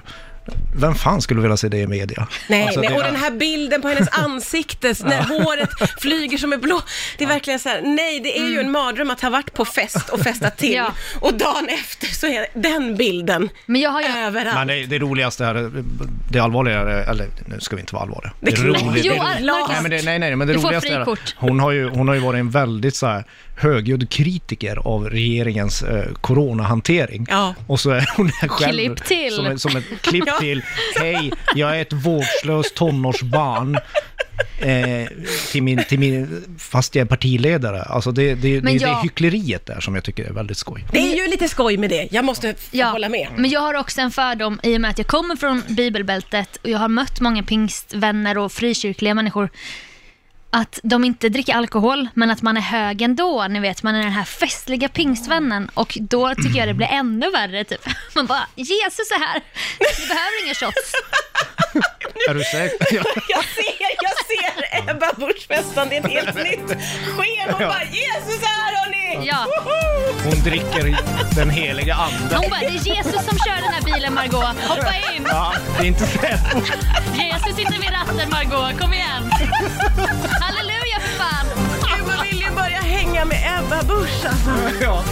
[SPEAKER 4] Vem fan skulle vilja se det i media?
[SPEAKER 2] Nej,
[SPEAKER 4] Alltså,
[SPEAKER 2] nej,
[SPEAKER 4] det-
[SPEAKER 2] och den här bilden på hennes ansikte när håret flyger som är blå. Det är verkligen så här, nej det är ju
[SPEAKER 4] Mm.
[SPEAKER 2] en mardröm att ha varit på fest och festat till
[SPEAKER 3] Ja.
[SPEAKER 2] och dagen efter så är den bilden
[SPEAKER 3] Men jag har ju...
[SPEAKER 2] överallt.
[SPEAKER 4] Men det, det roligaste här, det allvarliga, eller nu ska vi inte vara allvarliga.
[SPEAKER 2] Det är klart.
[SPEAKER 3] Jo,
[SPEAKER 4] det är-
[SPEAKER 3] Marcus.
[SPEAKER 4] nej, men det, nej, nej, men det
[SPEAKER 3] Du får
[SPEAKER 4] roligaste är
[SPEAKER 3] frikort.
[SPEAKER 4] att hon har, ju, hon har ju varit en väldigt så här högljudd kritiker av regeringens eh, coronahantering.
[SPEAKER 2] Ja.
[SPEAKER 4] Och så är hon här själv
[SPEAKER 3] Klipp till.
[SPEAKER 4] Som, ett- som ett klipp
[SPEAKER 2] Ja.
[SPEAKER 4] till. Hej, jag är ett vårdslöst tonårsbarn. eh, till, min, till min, fast jag är partiledare. Alltså det, det, det,
[SPEAKER 3] Men
[SPEAKER 4] det
[SPEAKER 3] jag-
[SPEAKER 4] är hyckleriet där som jag tycker är väldigt skoj.
[SPEAKER 2] Det är ju lite skoj med det, jag måste f-
[SPEAKER 3] Ja,
[SPEAKER 2] hålla med.
[SPEAKER 3] men jag har också en fördom i och med att jag kommer från bibelbältet och jag har mött många pingstvänner och frikyrkliga människor. Att de inte dricker alkohol, men att man är hög ändå. Ni vet, man är den här festliga pingstvännen och då tycker jag det blir ännu värre. Typ. Man bara, Jesus är här, ni behöver inga shots.
[SPEAKER 4] Är du säker? Ja.
[SPEAKER 2] Jag ser, jag ser Ebba Busch Westlund, det är ett helt nytt sken. Hon bara Jesus är här hörni!
[SPEAKER 3] Ja.
[SPEAKER 2] Woho!
[SPEAKER 4] Hon dricker den heliga anden.
[SPEAKER 3] Hon bara, det är Jesus som kör den här bilen Margot hoppa in!
[SPEAKER 4] Ja, det är inte Säpo.
[SPEAKER 3] Jesus sitter vid ratten Margot kom igen! Halleluja för fan!
[SPEAKER 2] Gud, man vill ju börja hänga med Ebba Busch alltså.
[SPEAKER 4] Ja.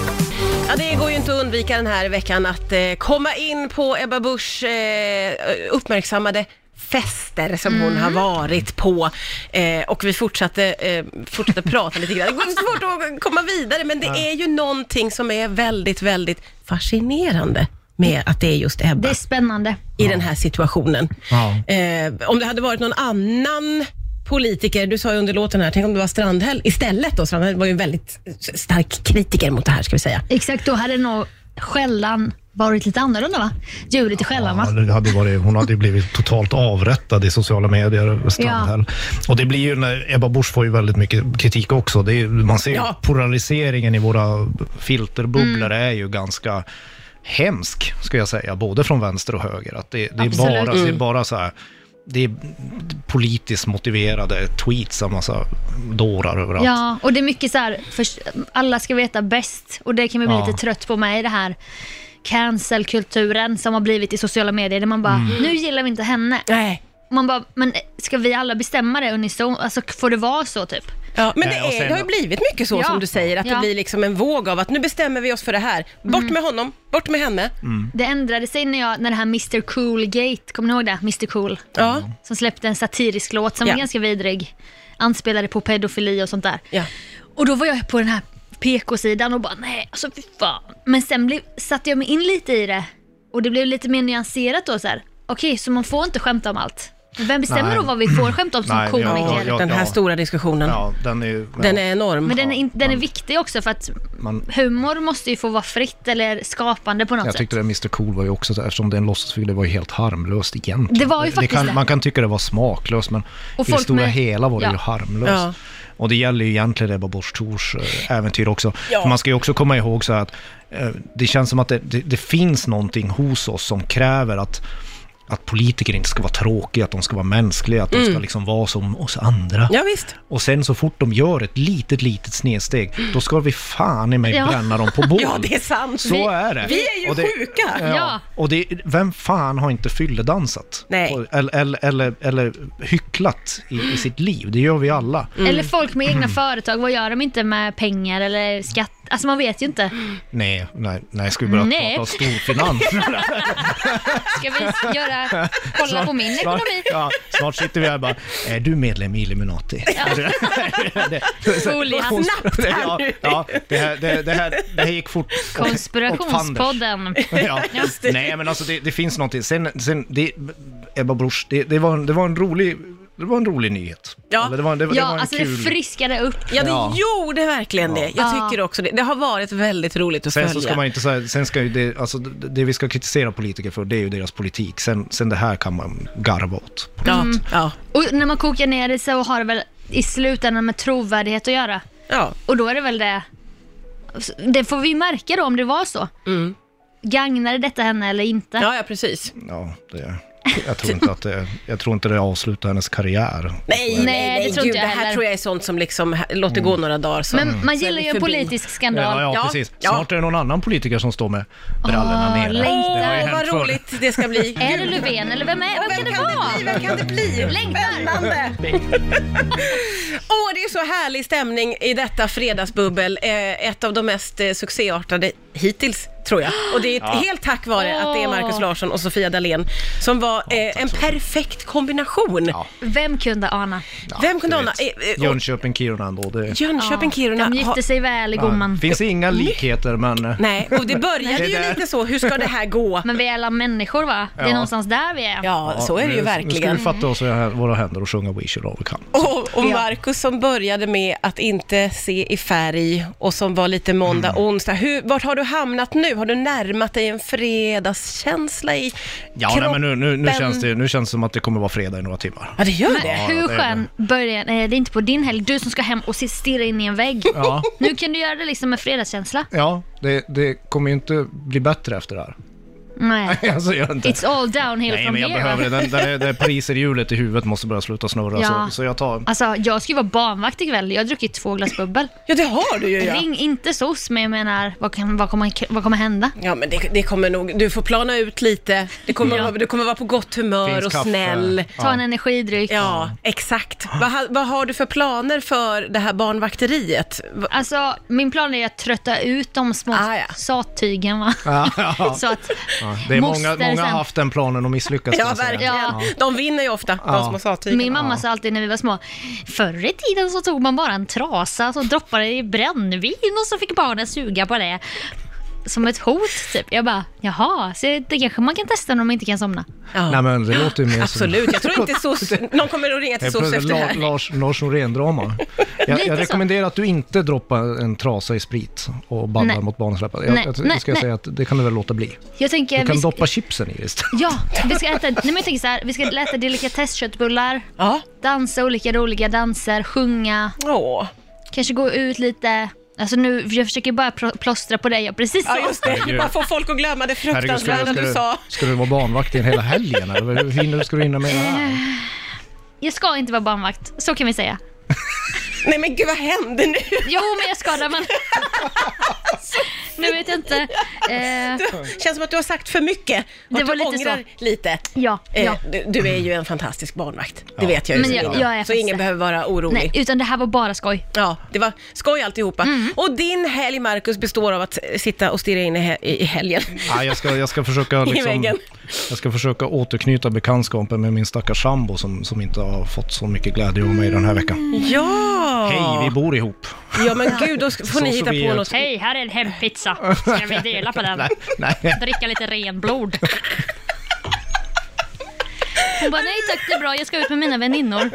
[SPEAKER 2] Ja, det går ju inte att undvika den här veckan att eh, komma in på Ebba Buschs eh, uppmärksammade fester som hon har varit på. Eh, och vi fortsatte, eh, fortsatte prata lite grann. Det går svårt att komma vidare, men det är ju någonting som är väldigt, väldigt fascinerande med att det är just Ebba
[SPEAKER 3] Det är spännande.
[SPEAKER 2] i den här situationen.
[SPEAKER 4] Ja.
[SPEAKER 2] Eh, om det hade varit någon annan politiker, du sa ju under låten här, tänk om det var Strandhäll istället då. Strandhäll var ju en väldigt stark kritiker mot det här, ska vi säga.
[SPEAKER 3] Exakt, då hade nog skällan varit lite annorlunda va? Djuret i skällan va?
[SPEAKER 4] det hade varit, hon hade ju blivit totalt avrättad i sociala medier, Strandhäll. Och det blir ju, när Ebba Busch får ju väldigt mycket kritik också. Det är, ju- man ser ju
[SPEAKER 2] Ja.
[SPEAKER 4] polariseringen i våra filterbubblor
[SPEAKER 3] Mm.
[SPEAKER 4] är ju ganska hemsk, ska jag säga, både från vänster och höger. Att det, det, är,
[SPEAKER 3] Absolut. Mm.
[SPEAKER 4] bara, det är bara så här, det är politiskt motiverade tweets av massa dårar överallt.
[SPEAKER 3] Ja, och det är mycket så här, för alla ska veta bäst och det kan man bli
[SPEAKER 4] Ja.
[SPEAKER 3] lite trött på med i det här cancelkulturen som har blivit i sociala medier där man bara,
[SPEAKER 4] Mm.
[SPEAKER 3] nu gillar vi inte henne.
[SPEAKER 2] Nej.
[SPEAKER 3] Man bara, men ska vi alla bestämma det unison? Alltså får det vara så typ?
[SPEAKER 2] Ja, men det,
[SPEAKER 4] Nej, Eh, och
[SPEAKER 2] är,
[SPEAKER 4] sen-
[SPEAKER 2] det har ju blivit mycket så
[SPEAKER 3] Ja.
[SPEAKER 2] som du säger, att det
[SPEAKER 3] Ja. Mm.
[SPEAKER 2] blir liksom en våg av att nu bestämmer vi oss för det här. Bort med honom, bort med henne.
[SPEAKER 4] Mm.
[SPEAKER 3] Det ändrade sig när, jag, när det här Mr Cool-gate, kommer ni ihåg det? Mr Cool.
[SPEAKER 2] Ja.
[SPEAKER 3] Som släppte en satirisk låt som
[SPEAKER 2] Ja.
[SPEAKER 3] var ganska vidrig. Anspelade på pedofili och sånt där.
[SPEAKER 2] Ja.
[SPEAKER 3] Och då var jag på den här PK-sidan och bara nej, alltså fy fan. Men sen blev, satte jag mig in lite i det och det blev lite mer nyanserat då så här. Okej, så man får inte skämta om allt. Vem bestämmer
[SPEAKER 4] Nej.
[SPEAKER 3] då vad vi får skämta om som
[SPEAKER 4] Nej,
[SPEAKER 3] komiker?
[SPEAKER 4] Ja, ja,
[SPEAKER 2] Den här
[SPEAKER 4] ja.
[SPEAKER 2] stora diskussionen,
[SPEAKER 4] Ja, den är ju...
[SPEAKER 2] den
[SPEAKER 4] ja,
[SPEAKER 2] är enorm.
[SPEAKER 3] Men den är, in, den är viktig också för att
[SPEAKER 4] man,
[SPEAKER 3] humor måste ju få vara fritt eller skapande på något
[SPEAKER 4] Jag
[SPEAKER 3] sätt.
[SPEAKER 4] tyckte det Mr Cool var ju också, så här, eftersom det är en låtsasfigur, det var ju helt harmlöst egentligen.
[SPEAKER 3] Det var ju faktiskt
[SPEAKER 4] kan,
[SPEAKER 3] det.
[SPEAKER 4] Man kan tycka det var smaklöst, men
[SPEAKER 3] Och
[SPEAKER 4] i det
[SPEAKER 3] folk
[SPEAKER 4] stora
[SPEAKER 3] med-
[SPEAKER 4] hela var det
[SPEAKER 3] Ja.
[SPEAKER 4] ju harmlöst.
[SPEAKER 2] Ja.
[SPEAKER 4] Och det gäller ju egentligen Ebba Busch Thors eh, äventyr också.
[SPEAKER 2] Ja.
[SPEAKER 4] För man ska ju också komma ihåg så här att eh, det känns som att det, det, det finns någonting hos oss som kräver att att politiker inte ska vara tråkiga, att de ska vara mänskliga, att
[SPEAKER 3] Mm.
[SPEAKER 4] de ska liksom vara som oss andra.
[SPEAKER 2] Ja, visst.
[SPEAKER 4] Och sen så fort de gör ett litet, litet snedsteg, då ska vi fan i mig
[SPEAKER 3] Ja.
[SPEAKER 4] bränna dem på bål.
[SPEAKER 2] Ja, det är sant.
[SPEAKER 4] Så
[SPEAKER 2] vi,
[SPEAKER 4] är det.
[SPEAKER 2] vi är ju
[SPEAKER 4] Och det-
[SPEAKER 2] sjuka.
[SPEAKER 4] Ja.
[SPEAKER 3] Ja.
[SPEAKER 4] Och det, vem fan har inte fylledansat?
[SPEAKER 2] Nej.
[SPEAKER 4] Och- Eller, eller, eller, eller hycklat i, i sitt liv? Det gör vi alla.
[SPEAKER 3] Eller folk med egna företag, vad gör de inte med pengar eller skatt? Alltså man vet ju inte.
[SPEAKER 4] Nej, nej, nej, ska vi börja
[SPEAKER 3] Nej.
[SPEAKER 4] prata om storfinans?
[SPEAKER 3] Ska vi göra, kolla på min
[SPEAKER 4] snart,
[SPEAKER 3] ekonomi?
[SPEAKER 4] ja, snart sitter vi här och bara, är du medlem i Illuminati?
[SPEAKER 3] Folie.
[SPEAKER 2] Snabbt här
[SPEAKER 4] ja,
[SPEAKER 2] nu.
[SPEAKER 4] ja, det, här, det, det, här, det här gick fort. Åt fanders.
[SPEAKER 3] Konspirationspodden.
[SPEAKER 4] Ja. Nej, men alltså det, det finns någonting. Sen, sen det, Ebba Busch, det, det, var en, det var en rolig... Det var en rolig nyhet.
[SPEAKER 2] Ja.
[SPEAKER 4] Eller det var, det, var- det var
[SPEAKER 3] Ja,
[SPEAKER 4] en
[SPEAKER 3] alltså
[SPEAKER 4] kul...
[SPEAKER 3] det friskade upp.
[SPEAKER 2] Ja, det
[SPEAKER 4] Ja.
[SPEAKER 2] gjorde verkligen det. Jag
[SPEAKER 3] Ja.
[SPEAKER 2] tycker också det. Det har varit väldigt roligt att
[SPEAKER 4] Sen så
[SPEAKER 2] följa.
[SPEAKER 4] ska man ju inte säga, sen ska ju det, alltså det det vi ska kritisera politiker för, det är ju deras politik. Sen, sen det här kan man garva åt.
[SPEAKER 2] ja,
[SPEAKER 3] Mm.
[SPEAKER 2] ja,
[SPEAKER 3] Och när man kokar ner det så har det väl i slutändan med trovärdighet att göra.
[SPEAKER 2] ja.
[SPEAKER 3] Och då är det väl det. Det får vi märka då om det var så.
[SPEAKER 2] Mm.
[SPEAKER 3] Gagnade detta henne eller inte?
[SPEAKER 2] Ja, ja, precis.
[SPEAKER 4] Ja, det, jag, tror inte att det, jag tror inte det avslutar hennes karriär.
[SPEAKER 2] Nej, nej, nej,
[SPEAKER 3] det tror
[SPEAKER 2] gud,
[SPEAKER 3] inte jag
[SPEAKER 2] Det här
[SPEAKER 3] heller.
[SPEAKER 2] tror jag är sånt som liksom ha- låter
[SPEAKER 4] Mm.
[SPEAKER 2] gå några dagar. Så.
[SPEAKER 3] Men man
[SPEAKER 2] så är
[SPEAKER 3] gillar
[SPEAKER 2] vi
[SPEAKER 3] ju en
[SPEAKER 2] förbi.
[SPEAKER 3] politisk
[SPEAKER 4] Ja,
[SPEAKER 3] skandal.
[SPEAKER 4] ja,
[SPEAKER 2] Ja,
[SPEAKER 4] precis.
[SPEAKER 2] ja. Ah,
[SPEAKER 4] Snart är det någon annan politiker som står med brallorna
[SPEAKER 3] Åh,
[SPEAKER 4] nere. Det
[SPEAKER 3] längtar.
[SPEAKER 4] har ju
[SPEAKER 2] Åh,
[SPEAKER 4] hänt
[SPEAKER 2] vad
[SPEAKER 4] förr.
[SPEAKER 2] roligt det ska bli.
[SPEAKER 3] Är det Löfven eller vem, är, vem, Eh, kan det vara?
[SPEAKER 2] Vem kan det bli?
[SPEAKER 3] Längtar!
[SPEAKER 2] Spännande! Åh, det är så härlig stämning i detta fredagsbubbel. Eh, ett av de mest eh, succéartade hittills, tror jag. Och det är helt tack vare att det är Markus Larsson och Sofia Dalén som var eh, en perfekt kombination.
[SPEAKER 4] Ja.
[SPEAKER 3] Vem kunde ana?
[SPEAKER 2] Vem kunde
[SPEAKER 4] Du
[SPEAKER 2] ana?
[SPEAKER 4] vet,
[SPEAKER 2] Eh, eh, och-
[SPEAKER 4] Jönköping, Kiruna ändå. Det
[SPEAKER 2] Jönköping, Kiruna.
[SPEAKER 3] De
[SPEAKER 2] har-
[SPEAKER 3] gifte sig väl i gomman.
[SPEAKER 4] finns inga likheter, men... eh,
[SPEAKER 2] Nej, och det började
[SPEAKER 4] Det
[SPEAKER 2] ju
[SPEAKER 4] där.
[SPEAKER 2] lite så, hur ska det här gå?
[SPEAKER 3] Men vi är alla människor va? Det är
[SPEAKER 4] Ja.
[SPEAKER 3] någonstans där vi är.
[SPEAKER 2] Ja,
[SPEAKER 4] ja,
[SPEAKER 2] så är det ju
[SPEAKER 4] nu- Nu ska
[SPEAKER 2] verkligen.
[SPEAKER 4] vi fatta oss i här- våra händer och sjunga We should overcome.
[SPEAKER 2] Och, och Marcus som började med att inte se i färg och som var lite måndag,
[SPEAKER 4] Mm.
[SPEAKER 2] onsdag. Hur, vart har du hamnat nu? Har du närmat dig en fredagskänsla i
[SPEAKER 4] Ja, nej, men nu, nu, nu, känns det, nu känns det som att det kommer vara fredag i några timmar.
[SPEAKER 2] Ja, det gör det.
[SPEAKER 4] Ja,
[SPEAKER 3] Hur
[SPEAKER 4] det är
[SPEAKER 3] skön början är det inte på din helg? Du som ska hem och se- stirra in i en vägg.
[SPEAKER 4] Ja,
[SPEAKER 3] Nu kan du göra det liksom med fredagskänsla.
[SPEAKER 4] ja det, det kommer ju inte bli bättre efter det här.
[SPEAKER 3] Nej.
[SPEAKER 4] Alltså, jag gör inte.
[SPEAKER 3] It's all downhill
[SPEAKER 4] Nej,
[SPEAKER 3] from
[SPEAKER 4] men jag
[SPEAKER 3] here. va?
[SPEAKER 4] behöver det. Den, den, är- det är priser i hjulet i huvudet måste börja sluta snurra.
[SPEAKER 3] Ja.
[SPEAKER 4] Så, så jag tar...
[SPEAKER 3] Alltså, jag ska ju vara barnvakt ikväll. Jag har druckit två glas bubbel.
[SPEAKER 2] Ja, det har du ju ja.
[SPEAKER 3] Ring inte SOS, men jag menar, vad, kan, vad, kommer, vad kommer hända?
[SPEAKER 2] Ja, men det, det kommer nog, du får plana ut lite. Det kommer, vara- Du kommer vara på gott humör
[SPEAKER 4] Finns
[SPEAKER 2] och
[SPEAKER 4] kaffe.
[SPEAKER 2] snäll.
[SPEAKER 3] Ta
[SPEAKER 4] Ja.
[SPEAKER 3] en energidryck.
[SPEAKER 2] Ja, exakt. Vad, ha- vad har du för planer för det här barnvakteriet? Va-
[SPEAKER 3] Alltså, min plan är att trötta ut de små
[SPEAKER 2] Ah, ja.
[SPEAKER 3] sattygen. Va?
[SPEAKER 4] Ja, ja.
[SPEAKER 3] Så att
[SPEAKER 4] Ja, det är många,
[SPEAKER 3] moster
[SPEAKER 4] många
[SPEAKER 3] sen-
[SPEAKER 4] har haft den planen och misslyckats. kan
[SPEAKER 2] Ja,
[SPEAKER 4] jag säga.
[SPEAKER 2] verkligen.
[SPEAKER 3] Ja.
[SPEAKER 2] De vinner ju ofta, de
[SPEAKER 4] Ja.
[SPEAKER 2] som har sattyg.
[SPEAKER 3] Min mamma sa alltid när vi var små, förr i tiden så tog man bara en trasa så droppade det i brännvin och så fick barnen suga på det. Som ett hot typ. Jag bara, jaha, så det kanske man kan testa när de inte kan somna.
[SPEAKER 2] Ja.
[SPEAKER 4] Nej, men det låter ju mer som-
[SPEAKER 2] Absolut, jag tror inte SOS, någon kommer att ringa till
[SPEAKER 4] Jag
[SPEAKER 2] SOS
[SPEAKER 4] prövade
[SPEAKER 2] efter det
[SPEAKER 4] La,
[SPEAKER 2] här.
[SPEAKER 4] Lars, Lars Norén-drama. Jag,
[SPEAKER 3] Lite så.
[SPEAKER 4] jag rekommenderar att du inte droppar en trasa i sprit och bandar
[SPEAKER 3] Nej.
[SPEAKER 4] mot barnsläppet.
[SPEAKER 3] Nej,
[SPEAKER 4] Jag, jag,
[SPEAKER 3] nej,
[SPEAKER 4] jag ska
[SPEAKER 3] nej.
[SPEAKER 4] säga att det kan du väl låta bli.
[SPEAKER 3] Jag tänker,
[SPEAKER 4] Du kan
[SPEAKER 3] vi ska,
[SPEAKER 4] doppa chipsen i det istället.
[SPEAKER 3] ja, vi ska äta, nej men jag tänker så här, vi ska äta delikatessköttbullar,
[SPEAKER 2] Ja.
[SPEAKER 3] dansa olika roliga danser, sjunga,
[SPEAKER 2] Åh.
[SPEAKER 3] kanske gå ut lite. Alltså nu, jag försöker bara pl- plåstra på dig jag precis sa.
[SPEAKER 2] Ja, just det.
[SPEAKER 4] Herregud.
[SPEAKER 2] Bara få folk att glömma det
[SPEAKER 4] ska,
[SPEAKER 2] fruktansvärda
[SPEAKER 4] du,
[SPEAKER 2] du
[SPEAKER 4] ska,
[SPEAKER 2] sa.
[SPEAKER 4] du, ska du vara barnvakt i en hela helgen? Eller? Hur hinner, ska du hinna med det här?
[SPEAKER 3] Jag ska inte vara barnvakt, så kan vi säga.
[SPEAKER 2] Nej men gud, vad händer nu?
[SPEAKER 3] Jo, men jag skadar man. nu vet jag inte. Eh,
[SPEAKER 2] Det känns som att du har sagt för mycket. Och
[SPEAKER 3] Det
[SPEAKER 2] att
[SPEAKER 3] var
[SPEAKER 2] du
[SPEAKER 3] lite
[SPEAKER 2] ångrar lite.
[SPEAKER 3] ja,
[SPEAKER 2] Eh,
[SPEAKER 3] ja.
[SPEAKER 2] Du, du är ju en fantastisk barnvakt. Det vet jag ju.
[SPEAKER 3] Men jag-
[SPEAKER 2] Sofia.
[SPEAKER 3] jag är
[SPEAKER 2] så
[SPEAKER 3] faktiskt
[SPEAKER 2] ingen
[SPEAKER 3] det.
[SPEAKER 2] behöver vara orolig.
[SPEAKER 3] Nej, Mm. utan det här var bara skoj.
[SPEAKER 2] Ja, det var skoj alltihopa. Och din helg, Marcus, består av att eh, sitta och stirra in i, he- i i helgen.
[SPEAKER 4] Ja, jag, ska, jag, ska försöka liksom,
[SPEAKER 2] väggen.
[SPEAKER 4] jag ska försöka återknyta bekantskapen med min stackars sambo som, som inte har fått så mycket glädje av mig den här veckan.
[SPEAKER 2] Ja!
[SPEAKER 4] Hej, vi bor ihop.
[SPEAKER 2] Ja, men gud, då ska- får
[SPEAKER 4] Så
[SPEAKER 2] ni hitta
[SPEAKER 4] som vi
[SPEAKER 2] på
[SPEAKER 4] är.
[SPEAKER 2] något.
[SPEAKER 3] Hej, här är en hempizza. Ska vi dela på den?
[SPEAKER 4] Nej, nej.
[SPEAKER 3] Dricka lite renblod. Hon bara, nej tack det är bra, jag ska ut med mina väninnor.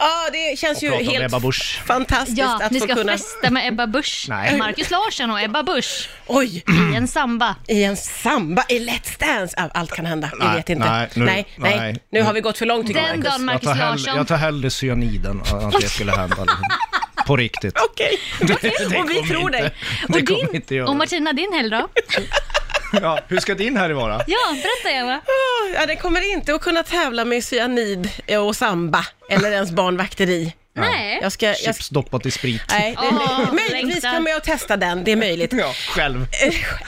[SPEAKER 2] Ja, det känns ju
[SPEAKER 4] Prata om
[SPEAKER 2] helt
[SPEAKER 4] Ebba Busch.
[SPEAKER 2] fantastiskt
[SPEAKER 3] Ja,
[SPEAKER 2] att
[SPEAKER 3] ni
[SPEAKER 2] få
[SPEAKER 3] ska
[SPEAKER 2] kunna...
[SPEAKER 3] festa med Ebba Busch.
[SPEAKER 4] Nej.
[SPEAKER 3] Marcus Larsson och Ebba Busch
[SPEAKER 2] Oj!
[SPEAKER 3] i en samba.
[SPEAKER 2] I en samba, i Let's Dance. Ah, Allt kan hända, vi
[SPEAKER 4] Nej,
[SPEAKER 2] vet inte.
[SPEAKER 4] nej, nu-
[SPEAKER 2] nej, nej.
[SPEAKER 4] nej.
[SPEAKER 2] nu har vi gått för långt tycker jag.
[SPEAKER 3] Den
[SPEAKER 2] Marcus.
[SPEAKER 3] dagen
[SPEAKER 4] Jag
[SPEAKER 3] Marcus
[SPEAKER 4] tar, hell,
[SPEAKER 3] Larsson...
[SPEAKER 4] jag tar hellre cyaniden än att det skulle hända. liksom. På riktigt.
[SPEAKER 2] Okej, och vi
[SPEAKER 4] kommer
[SPEAKER 2] tror dig.
[SPEAKER 4] Det
[SPEAKER 3] Och,
[SPEAKER 4] kommer inte
[SPEAKER 3] din,
[SPEAKER 4] göra.
[SPEAKER 3] och Martina, din helg då?
[SPEAKER 4] Ja, hur ska din här vara?
[SPEAKER 3] Ja, berätta Eva.
[SPEAKER 2] Ah, Ja, den kommer inte att kunna tävla med cyanid och samba, eller ens barnvakteri.
[SPEAKER 3] Nej.
[SPEAKER 2] Jag ska... Jag,
[SPEAKER 4] Chips doppat i sprit.
[SPEAKER 2] nej, det,
[SPEAKER 3] Åh,
[SPEAKER 2] möjligtvis
[SPEAKER 3] längtar.
[SPEAKER 2] kommer jag att testa den, det är möjligt.
[SPEAKER 4] Ja, själv.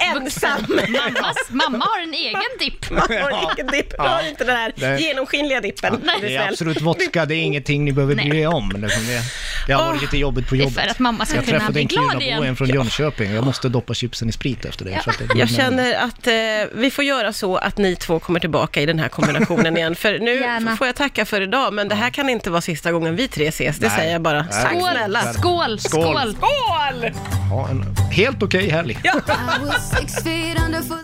[SPEAKER 2] Ensam.
[SPEAKER 3] Mammas, mamma har en egen dipp.
[SPEAKER 2] Man har ingen dipp, man har inte den här
[SPEAKER 4] Det-
[SPEAKER 2] genomskinliga dippen. är du
[SPEAKER 4] Det är
[SPEAKER 2] snäll.
[SPEAKER 4] absolut vodka, det är ingenting ni behöver bry er om. Liksom det, det har varit lite jobbigt på
[SPEAKER 3] Det är
[SPEAKER 4] jobbet.
[SPEAKER 3] för att mamma ska
[SPEAKER 4] Jag
[SPEAKER 3] kunna
[SPEAKER 4] träffade
[SPEAKER 3] bli
[SPEAKER 4] en
[SPEAKER 3] glad igen.
[SPEAKER 4] kvinna en från Jönköping jag måste doppa chipsen i sprit efter det. För att det
[SPEAKER 2] Jag känner att eh, vi får göra så att ni två kommer tillbaka i den här kombinationen igen. För nu
[SPEAKER 3] Gärna.
[SPEAKER 2] f- får jag tacka för idag, men det här kan inte vara sista gången vi tre ses. Det
[SPEAKER 4] Nej.
[SPEAKER 2] säger jag bara.
[SPEAKER 4] Nej.
[SPEAKER 2] Tack
[SPEAKER 3] Skål,
[SPEAKER 2] snälla.
[SPEAKER 3] skål, skål.
[SPEAKER 2] Skål!
[SPEAKER 4] Ja, en helt okej helg.
[SPEAKER 5] I was six feet under for the